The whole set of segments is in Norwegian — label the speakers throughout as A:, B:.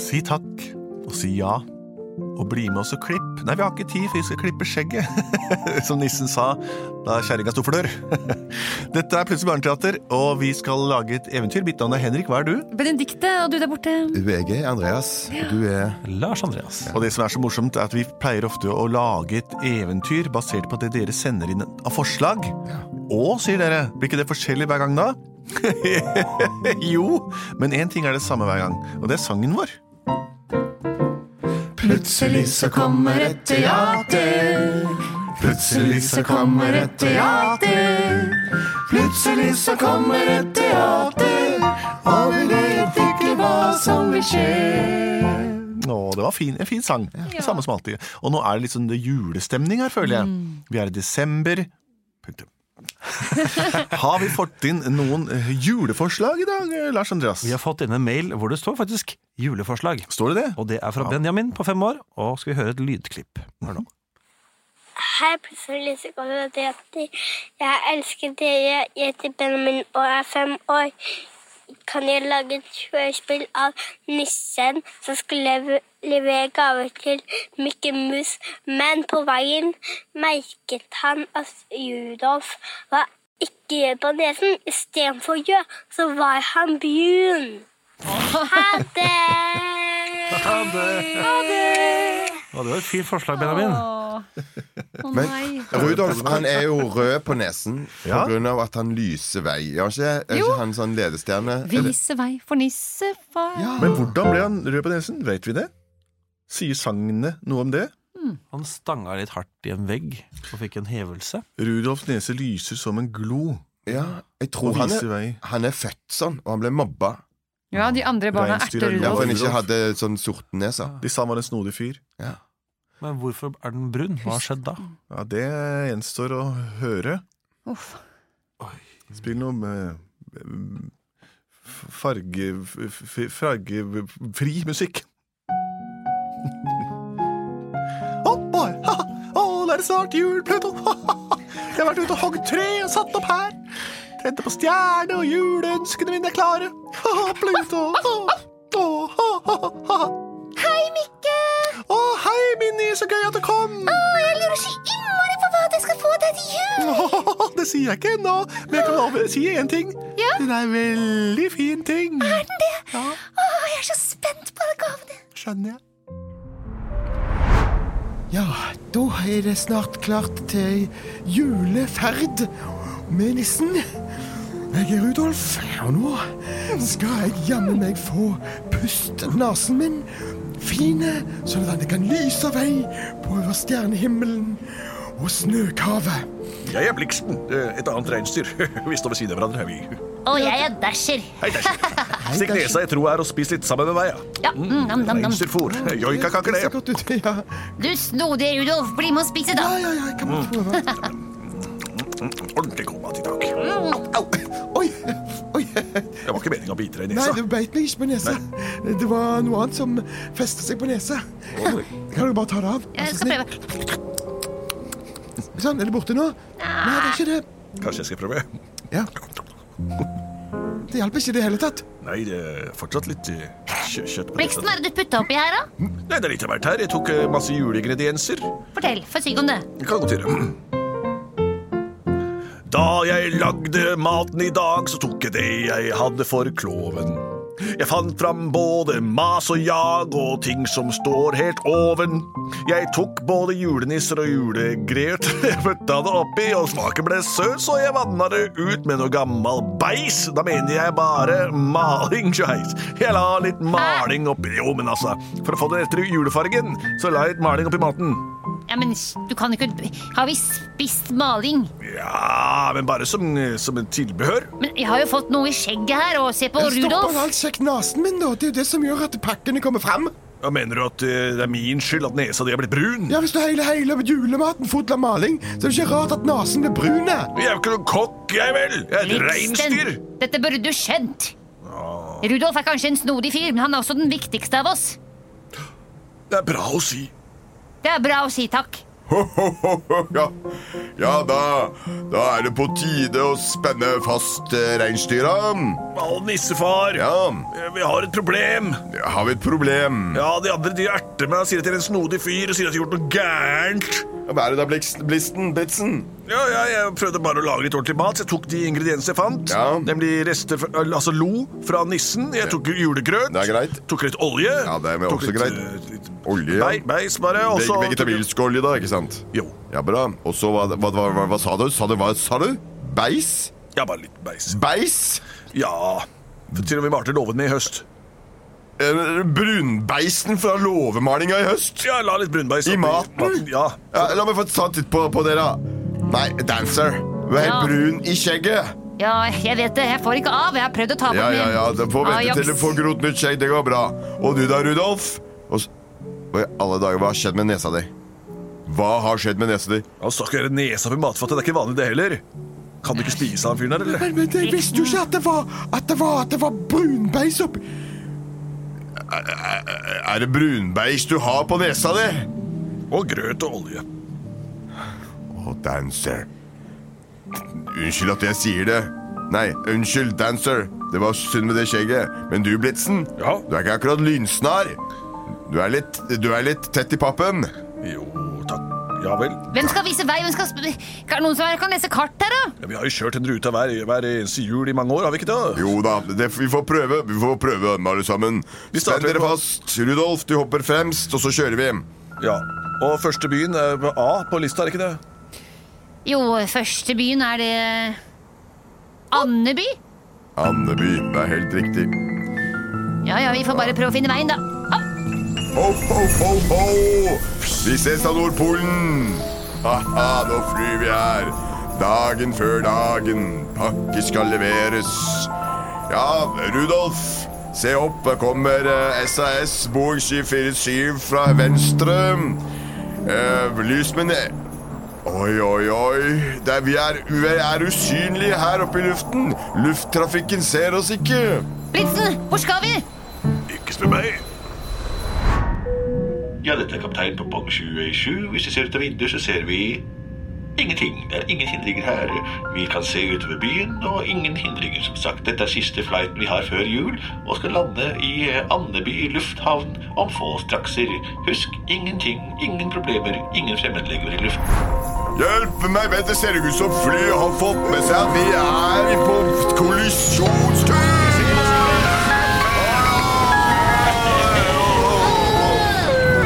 A: Si takk, og si ja. Og bli med oss og klipp. Nei, vi har ikke tid, for vi skal klippe skjegget. Som nissen sa da kjerringa sto for dør. Dette er Plutselig barneteater, og vi skal lage et eventyr. Mitt navn er Henrik, hva er du?
B: Benedikte, og du der borte.
C: VG, Andreas, og du er
D: Lars Andreas.
A: Og det som er så morsomt, er at vi pleier ofte å lage et eventyr basert på det dere sender inn av forslag. Og, sier dere, blir ikke det forskjellig hver gang da? jo, men én ting er det samme hver gang, og det er sangen vår.
C: Plutselig så kommer et teater. Plutselig så kommer et teater. Plutselig så kommer et teater. Og vi vet ikke hva som vil skje.
A: Å, det var fin, en fin sang. Samme som alltid. Og nå er det litt sånn julestemning her, føler jeg. Vi er i desember. Punktum. har vi fått inn noen eh, juleforslag i dag, eh, Lars Andreas?
D: Vi har fått inn en mail hvor det står faktisk 'juleforslag'.
A: Står det det?
D: Og det er fra Benjamin på fem år. Og skal vi høre et lydklipp. Hør nå.
E: Hei, plutselig så kommer det til Jenter. Jeg elsker dere. Jeg heter Benjamin og er fem år. Kan jeg lage et hørespill av nissen som skulle leve- levere gaver til Mikke Mus, men på veien merket han at Rudolf var ikke rød på nesen. Istedenfor rød, så var han brun. Ha det!
D: Ja, det var et fint forslag, Benjamin.
B: Å
C: Men
B: nei.
C: Rudolf han er jo rød på nesen
A: Ja.
C: pga. at han lyser vei. Er han ikke, er
B: Jo.
C: ikke han sånn ledestjerne? Eller-
B: Vise vei for nissefar.
C: Ja.
A: Men hvordan ble han rød på nesen? Vet vi det? Sier sangene noe om det?
D: Han stanga litt hardt i en vegg og fikk en hevelse.
A: Rudolfs nese lyser som en glo
C: ja, jeg tror
A: og
C: han
A: viser
C: er,
A: vei.
C: han er født sånn, og han ble mobba.
B: Ja, de andre barna
A: Reinsdyr
B: erter
A: er
C: Ja,
B: Rudolf.
A: lov.
C: for han ikke hadde sånn sortnese.
A: De sa han var en snodig fyr.
C: Ja.
D: Men hvorfor er den brun? Hva har skjedd da?
A: Ja, Det gjenstår å høre.
B: Uff.
A: Spill noe med mm, f- farge... f- f- fargefri musikk. Oh boy! Ha, ha. Å, da er det snart jul, Pluto! Ha, ha, ha. Jeg har vært ute og hogd tre og satt opp her. Tente på stjerne, og juleønskene mine er klare. Ha, ha, Pluto! Å, å, ha, ha, ha, ha.
F: Hei, Mikke!
A: Å, hei, Minni, så gøy at du kom!
F: Å, jeg lurer så innmari på hva jeg skal få deg til jul!
A: Åh, Det sier jeg ikke ennå, men jeg kan love- si én ting.
F: Ja?
A: Den er en veldig fin ting.
F: Er den det? Å, jeg er så spent på alle gavene.
A: Skjønner jeg.
C: Ja, da er det snart klart til juleferd med nissen. Jeg er Rudolf, og nå skal jeg jammen meg få pust nesen min fine, sånn at den kan lyse vei på over stjernehimmelen og snøkavet.
A: Jeg er Bliksten, et annet reinsdyr. Vi står ved siden av hverandre. Vi.
F: Og jeg er Dasher.
A: Hei, Dasher. Stikk nesa i troa her og spis litt sammen med meg. ja.
F: Ja, mm, nam, nam, Mm. nam.
A: Reinsdyrfôr. Joikakaker, det.
C: godt ut, ja.
F: Du snodige Rudolf, bli med og spise, da.
C: ja, jeg kan bare prøve.
A: Mm, Ordentlig god mat i dag.
F: Mm.
C: Au! Oi, oi.
A: Det var ikke meninga å bite deg i
C: Nei,
A: nesa.
C: det beit meg ikke på nesa. Det var noe annet som festet seg på nesa. Kan du bare ta det av? Vær
F: Jeg
C: så
F: skal
C: snill?
F: prøve.
C: Sånn, er det borte nå? Nei, det er ikke det.
A: Kanskje jeg skal prøve.
C: Ja. Det hjalp ikke i det hele tatt.
A: Nei, det er fortsatt litt eh, kjø kjøtt på
F: Bliksten, hva er det du putta oppi her, da?
A: Nei, det er litt av hvert her. Jeg tok eh, masse juleingredienser.
F: Fortell, få syk om det.
A: Det kan godt gjøre. Da jeg lagde maten i dag, så tok jeg det jeg hadde for kloven. Jeg fant fram både mas og jag og ting som står helt oven. Jeg tok både julenisser og julegrøt, jeg putta det oppi, og smaken ble søt, så jeg vanna det ut med noe gammal beis. Da mener jeg bare maling, skeis. Jeg la litt maling oppi Jo, men altså, for å få den rette julefargen, så la jeg litt maling oppi maten.
F: Ja, men s- du kan ikke Har vi spist maling?
A: Ja, men bare som, som et tilbehør.
F: Men jeg har jo fått noe i skjegget her, og se på
G: Stopper
F: Rudolf.
G: all sjekk nesen min, da. Det er jo det som gjør at pakkene kommer fram.
A: Ja, mener du at eh, det er min skyld at nesa di er blitt brun?
G: Ja, Hvis du hele, hele julematen full av maling, så er det ikke rart at nesen blir brun.
A: Jeg er jo ikke noen kokk, jeg vel. Jeg er et reinsdyr.
F: Lipsten. Dette burde du skjønt.
C: Ah.
F: Rudolf er kanskje en snodig fyr, men han er også den viktigste av oss.
A: Det er bra å si.
F: Det er bra å si takk.
C: ja, ja da, da er det på tide å spenne fast eh, reinsdyra.
A: Å, nissefar.
C: Ja,
A: Eh, Vi har et problem.
C: ja, har vi et problem?
A: Ja, de andre de erter meg og sier at jeg er en snodig fyr og sier at jeg har gjort noe gærent.
C: Hva er det da, Blix- Blisten? Blitzen?
A: Ja, ja, jeg prøvde bare å lage litt ordentlig mat, så jeg tok de ingrediensene jeg fant.
C: Ja.
A: Nemlig rester, fra, altså lo fra nissen. Jeg tok julegrøt.
C: Det er greit.
A: Tok litt olje.
C: Ja, det er vel
A: tok
C: også
A: litt,
C: greit.
A: eh, litt
C: Olje?
A: bei- Beis, bare. og
C: Veg,
A: så-
C: vegetabilsk olje, da, ikke sant?
A: Jo.
C: Ja, bra. Og så, hva, hva, hva, hva, hva sa du? Sa du, hva sa du? Beis?
A: Ja, bare litt beis.
C: Beis?
A: Ja. Til og med Marte lovet meg i høst.
C: Eh, Brunbeisen fra låvemalinga i høst?
A: Ja, la litt brunbeis
C: I
A: oppi
C: maten?
A: Ja.
C: Ja, la meg få ta en titt på, på dere. da. Nei, dancer. Du er helt
F: Ja.
C: brun i skjegget.
F: Ja, jeg vet det. Jeg får ikke av. Jeg har prøvd å ta på Ah,
C: Ja,
F: den
C: ja,
F: igjen.
C: ja. Du får vente
F: Ajax.
C: til du får grot nytt skjegg. Det går bra. Og du da, Rudolf? Og s- Hva i alle dager, hva har skjedd med nesa di? Hva har skjedd med nesa di?
A: Han stakk jo nesa oppi matfatet. Det er ikke vanlig, det heller. Kan du ikke spise han fyren der, eller?
G: Men, men jeg visste jo ikke at det var At det var, at det var brunbeis oppi
C: Er det brunbeis du har på nesa di?
A: Og grøt og olje.
C: Å, dancer. Unnskyld at jeg sier det. Nei, unnskyld, dancer. Det var synd med det skjegget. Men du, Blitzen,
A: Ja.
C: du er ikke akkurat lynsnar. Du er litt, du er litt tett i pappen.
A: Jo, takk. Ja vel.
F: Hvem skal vise vei? Hvem skal sp- Kan noen som her kan lese kart her, da?
A: Ja, vi har jo kjørt en rute hver, hver eneste jul i mange år, har vi ikke det?
C: Jo da, det, vi får prøve. Vi får prøve, alle sammen.
A: Vi
C: Spenn
A: starter
C: dere
A: på-
C: fast. Rudolf, du hopper fremst, og så kjører vi.
A: Ja. Og første byen er på A på lista, er ikke det?
F: Jo, første byen er det Andeby?
C: Andeby, det er helt riktig.
F: Ja ja, vi får bare prøve å finne veien, da. Opp.
C: Ho, ho, ho, ho! Vi ses av Nordpolen! Ha-ha, nå flyr vi her. Dagen før dagen. Pakke skal leveres. Ja, Rudolf, se opp. Der kommer eh, SAS Boeing 747 fra venstre. Eh, lys med ned... Oi, oi, oi. Der vi, er, vi er usynlige her oppe i luften. Lufttrafikken ser oss ikke.
F: Blitzen, hvor skal vi?
A: Ikke spør meg.
H: Ja, dette er kaptein på Bong 27. Hvis vi ser ut av vinduet, så ser vi ingenting. Det er ingen hindringer her. Vi kan se utover byen, og ingen hindringer, som sagt. Dette er siste flighten vi har før jul, og skal lande i eh, Andeby lufthavn om få strakser. Husk, ingenting, ingen problemer, ingen fremmedlegemer i luften.
C: Hjelp meg, vent, det ser ikke ut som flyet har fått med seg at vi er på kollisjonskurs!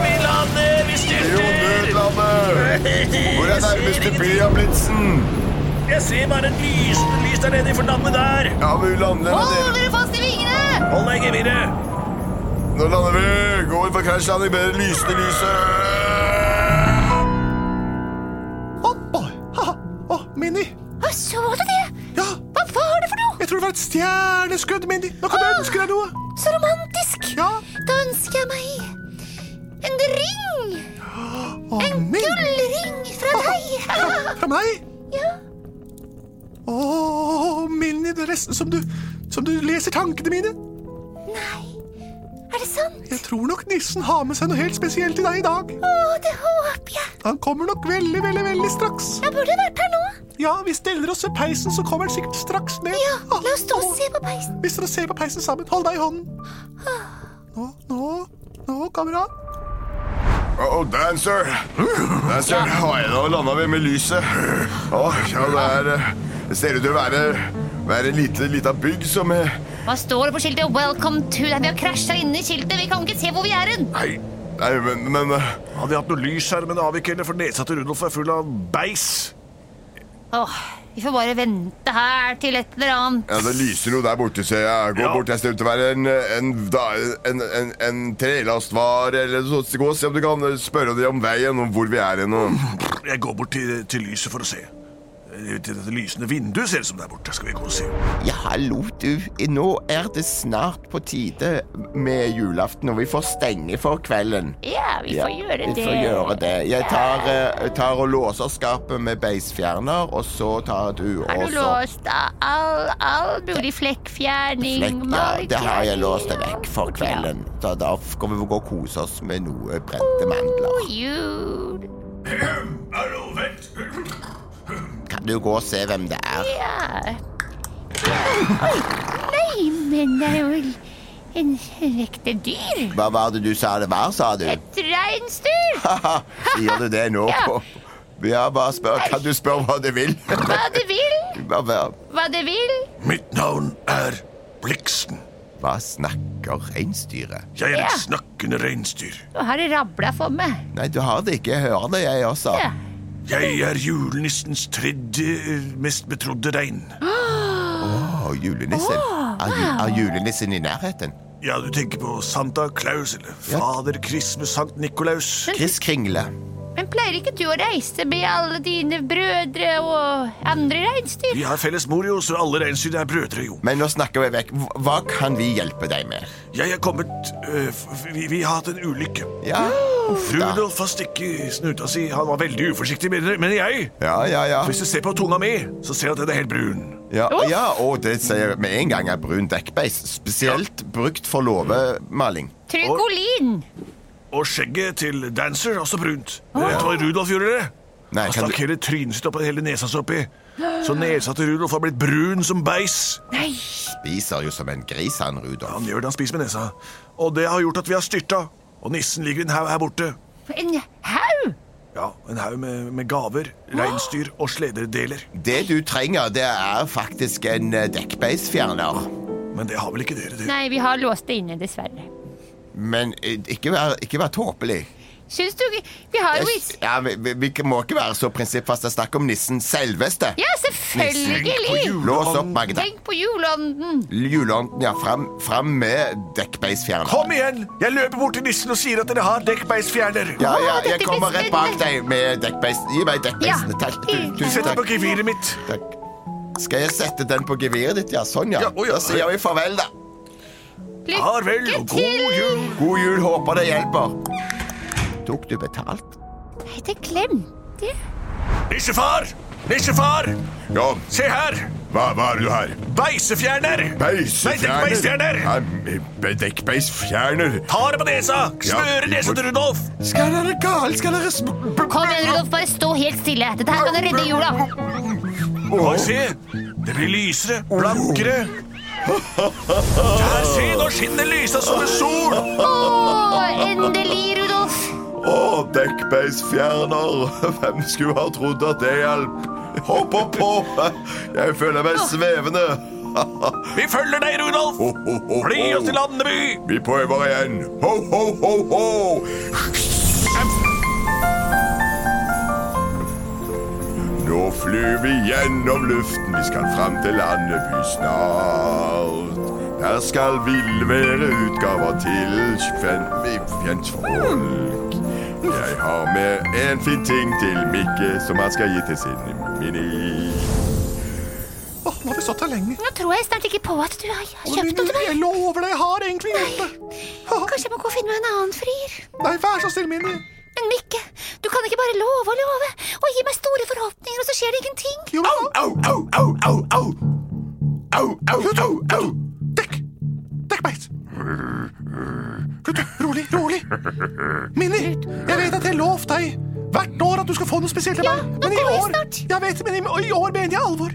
C: Vi lander, vi styrter! Hvor er nærmeste by av Blitzen?
I: Jeg ser bare et lys. Et lys der nede i fordammet der.
C: Ja, men vi lander da,
F: Hold
C: dere.
F: dere fast i vingene!
I: Hold deg i geviret.
C: Nå lander vi! Gå inn for krasjlanding med det lysende lyset!
A: Å, haha. Å, Minni.
J: Hva så du det?
A: Ja,
J: Hva var det for noe?
A: jeg tror det var et stjerneskudd, Minni. Nå kan du ønske deg noe.
J: Så romantisk.
A: Ja.
J: Da ønsker jeg meg en ring.
A: Å, Minni.
J: Gullring fra deg. Ah,
A: Fra meg?
J: Ja.
A: Å, Minni, det er nesten som du, som du leser tankene mine.
J: Nei, er det sant?
A: Jeg tror nok nissen har med seg noe helt spesielt til deg i dag.
J: Å, det håper jeg.
A: Han kommer nok veldig, veldig, veldig straks.
J: Jeg burde vært her nå.
A: Ja, vi steller oss ved peisen, så kommer han sikkert straks ned. Ah,
J: Ja,
A: Å,
J: la oss stå og
A: å.
J: se på peisen.
A: Vi står og ser på peisen sammen. Hold deg i hånden. Nå, nå, nå, kamerat.
C: Oh, dancer! Dancer, har jeg da landa vi med lyset? Åh, ja, det er eh, Det ser ut til å være, være en lite, lita bygg som eh,
F: Hva står det på skiltet? Welcome to Nei, Vi har krasja inne i skiltet. Vi kan ikke se hvor vi er hen.
C: Nei, nei men, men eh,
D: Hadde vi hatt noe lys her, men det har vi ikke heller, for nesa til Rudolf er full av beis.
F: Åh, vi får bare vente her til et eller annet.
K: Ja, Det lyser noe der borte, ser jeg. Gå
A: Ja.
K: bort en stund til være en, en, da- en, en, en trelastvare eller noe sånt. Gå og se om du kan eh, spørre dem om veien, om hvor vi er hen. og-
L: Jeg går bort til, til lyset for å se. Eh, Til dette lysende vinduet ser det som det er borte. Skal vi gå og se.
C: Ja, hallo, du. Nå er det snart på tide med julaften, og vi får stenge for kvelden.
F: Ja, vi får gjøre det.
C: Vi får gjøre det. Jeg tar, eh, tar og låser skapet med beisfjerner, og så tar du
F: Har du
C: også
F: låst av all, all mulig flekkfjerning?
C: Flekk, ja, det har jeg låst det vekk for kvelden. Så da skal vi gå og kose oss med noe brente mandler.
F: Jul.
L: Hallo, vent.
C: Kan du gå og se hvem det er?
F: Ja. Oi, nei, men det er jo en en ekte dyr.
C: Hva var det du sa det var, sa du?
F: Et reinsdyr.
C: Haha, Sier du det nå?
F: Ja.
C: på- Ja, bare spør. Kan du spørre hva du vil?
F: Hva det vil,
C: Hva- hva-
F: hva det vil.
L: Mitt navn er Bliksen.
C: Hva snakker reinsdyret?
L: Jeg er
F: Ja.
L: et snakkende reinsdyr.
F: Nå har det rabla for meg.
C: Nei, du har det ikke. Jeg hører det, jeg også.
F: Ja.
L: Jeg er julenissens tredje eh, mest betrodde rein.
C: Å, julenissen. Er, ju- er julenissen i nærheten?
L: Ja, du tenker på Santa Claus eller Fader Christmas Sankt Nikolaus.
C: Chris Kringle.
F: Men pleier ikke du å reise med alle dine brødre og andre reinsdyr?
L: Vi har felles mor, jo, så alle reinsdyr er brødre, jo.
C: Men nå snakker vi vekk. Hva- Hva kan vi hjelpe deg med?
L: Jeg er kommet eh, f- vi, vi har hatt en ulykke.
C: Ja,
L: Rudolf har stikket snuta si. Han var veldig uforsiktig, mener mener jeg.
C: ja, ja. ja.
L: Hvis du ser på tunga mi, så ser du at den er helt brun.
C: Ja, ja, og det sier med en gang er brun dekkbeis. Spesielt brukt for låvemaling.
F: Trykolin.
L: Og skjegget til Dancer er også brunt. Vet du hva Rudolf gjorde? det?
C: Nei,
L: Han
C: kan
L: stakk
C: du...
L: hele trynet sitt opp og hele nesa si oppi. Så nesa til Rudolf har blitt brun som beis.
F: Nei.
C: Spiser jo som en gris, han Rudolf.
L: Han gjør det han spiser med nesa. Og det har gjort at vi har styrta. Og nissen ligger i en haug her borte.
F: En haug.
L: Ja, En haug med, med gaver, reinsdyr og slederdeler.
C: Det du trenger, det er faktisk en eh, dekkbeisfjerner.
L: Men det har vel ikke dere, dere?
F: Nei, vi har låst det inne, dessverre.
C: Men eh, ikke vær, ikke vær tåpelig.
F: Syns du ikke- Vi har jo is...
C: Ja, vi, vi, vi må ikke være så prinsippfaste. Snakk om nissen selveste.
F: Ja, selvfølgelig!
C: Lås opp, Magda.
F: Tenk på julånden.
C: Juleånden, ja. Fram, fram med dekkbeisfjerner.
L: Kom igjen! Jeg løper bort til nissen og sier at dere har dekkbeisfjerner.
C: Ja,
F: Å,
C: ja,
F: dette
C: jeg
F: blir
C: kommer rett bak
F: spennende.
C: deg med dekkbeis. Gi meg dekkbeisen.
F: Ja.
C: Takk. Tu- Tusen
L: Sett
C: takk.
L: deg på geviret mitt.
C: Takk. Skal jeg sette den på geviret ditt? Ja, sånn, ja.
L: Ja, å, ja.
C: Da sier vi farvel, da.
L: Farvel
F: Lykke
L: og
F: til!
L: god jul!
C: God jul, håper det hjelper. Tok du betalt?
F: Nei, det glemte jeg.
L: Nissefar! Nissefar!
K: Ja,
L: Se her!
K: hva, hva er det du har?
L: Beisefjerner! Nei, dekkbeisfjerner!
K: Beisefjerner! Nei, Dekkbeisfjerner?
L: Tar det på nesa! Smører
K: Ja.
L: nesa til Rudolf!
C: Skal dere gale? Skal dere sm...
F: Kom igjen, Rudolf, bare stå helt stille. Dette her kan redde jula.
L: Og se! Det blir lysere,
M: Oh.
L: blankere. Der, se! Nå skinner lysa som en sol!
F: Å, endelig, Rudolf.
K: Å, dekkbeisfjerner! Hvem skulle ha trodd at det hjalp? Hopp opp på! Jeg føler meg svevende.
L: Vi følger deg, Rudolf!
M: Oh,
K: Ho, ho, ho, ho.
L: Bli oss til Andeby!
K: Vi prøver igjen. Ho, ho, ho, ho! Nå flyr vi gjennom luften, vi skal fram til Andeby snart. Der skal vi levere utgaver til fjernfolk. Jeg har med en fin ting til Mikke, som han skal gi til sin mini.
M: Åh, nå har vi stått her lenge.
N: Nå tror jeg snart ikke på at du har kjøpt noe til meg.
M: Jeg lover deg, jeg har egentlig gjort det.
N: Kanskje jeg må gå og finne meg en annen frier.
M: Nei, vær så snill, Minni.
N: Men Mikke, du kan ikke bare love og love og gi meg store forhåpninger, og så skjer det ingenting.
M: Jo, men-
K: Au, au, au, au, au! Au, au, au, au!
M: Dekk! Dekkbeis! Slutt, rolig, rolig. Minni, jeg vet at jeg lovte deg hvert år at du skal få noe spesielt til
N: Ja,
M: meg.
N: nå
M: men i
N: går jeg
M: år,
N: snart.
M: jeg vet, men i, i år mener jeg alvor.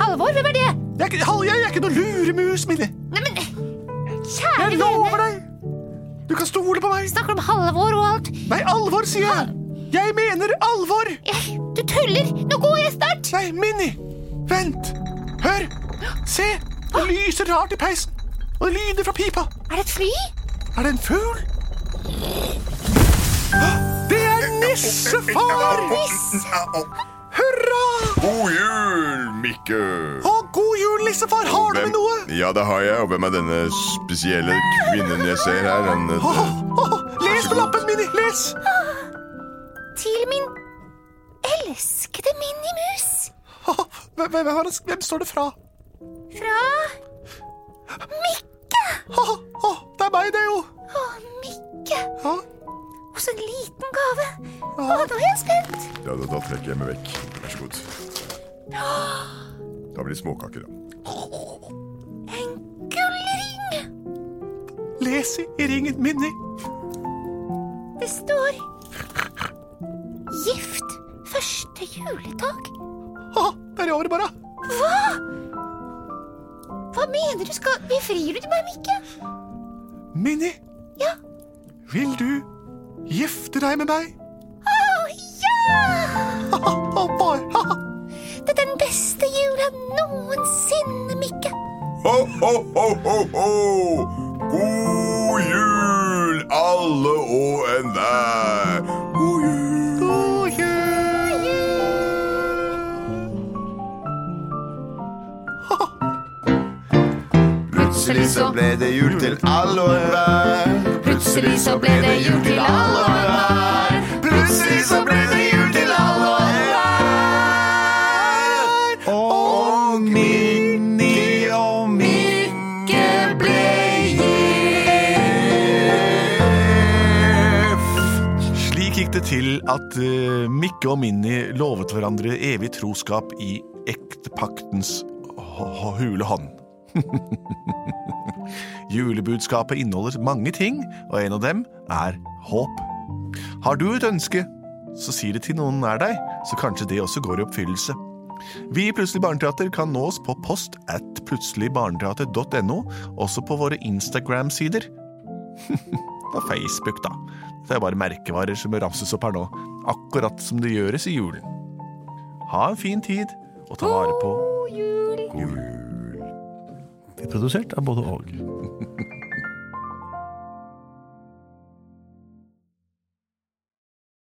F: Halvor, hvem er det?
M: Jeg, er ikke- hall- jeg er ikke noe luremus, Minni.
F: Nei, men Kjære
M: Jeg
F: vene,
M: lover deg. Du kan stole på meg.
F: snakker du om Halvor og alt?
M: Nei, alvor, sier jeg. Jeg mener alvor.
F: Jeg, du tuller! Nå går jeg snart!
M: Nei, Minni. Vent. Hør. Se. Det lyser rart i peisen. Og det lyder fra pipa.
N: Er det et fly?
M: Er det en fugl? Det er nissefar!
K: Au, au.
A: Hurra!
K: God jul, Mikke!
A: Å, god jul, Lissefar! Har du med noe?
K: Ja, det har jeg. Og hvem er denne spesielle kvinnen jeg ser her? En,
A: Å, å, å, les på lappen min! Les!
F: Til min elskede Minimus.
A: Hvem, hvem, hvem, hvem står det fra?
F: Fra Mikke.
A: Å, det er meg, det, jo.
F: Å, Mikke. Og så en liten gave. Å, nå er jeg spent.
K: ja, da, da trekker jeg meg vekk. Vær så god. Da blir det småkaker, da.
F: Gullring.
A: Les i, i ringen min.
F: Det står Gift første juledag.
A: Å, det er i året, bare.
F: Hva? Hva mener du skal Befrir du til meg, Mikke?
A: Minni.
F: Ja.
A: Vil du gifte deg med meg?
F: Å, ja!
A: Å, bare.
F: Dette er den beste jula noensinne, Mikke.
K: Ho, ho, ho, ho, ho! God jul, alle og enhver! God jul!
A: God jul!
C: Plutselig så ble det jul til alle og enhver. Plutselig så ble det jul til alle og enhver. Plutselig så ble det jul til alle og enhver. Og Minni og Mikke ble
A: Slik gikk det til at eh, Mikke og Minni lovet hverandre evig troskap i ektepaktens h- h- hule hånd. Julebudskapet inneholder mange ting, og en av dem er håp. Har du et ønske, så si det til noen nær deg, så kanskje det også går i oppfyllelse. Vi i Plutselig barneteater kan nås på post at plutseligbarneteater.no, også på våre Instagram-sider. på Facebook, da. Det er bare merkevarer som ramses opp her nå, akkurat som det gjøres i julen. Ha en fin tid, og ta vare på
F: God jul.
O: Produsert av både og.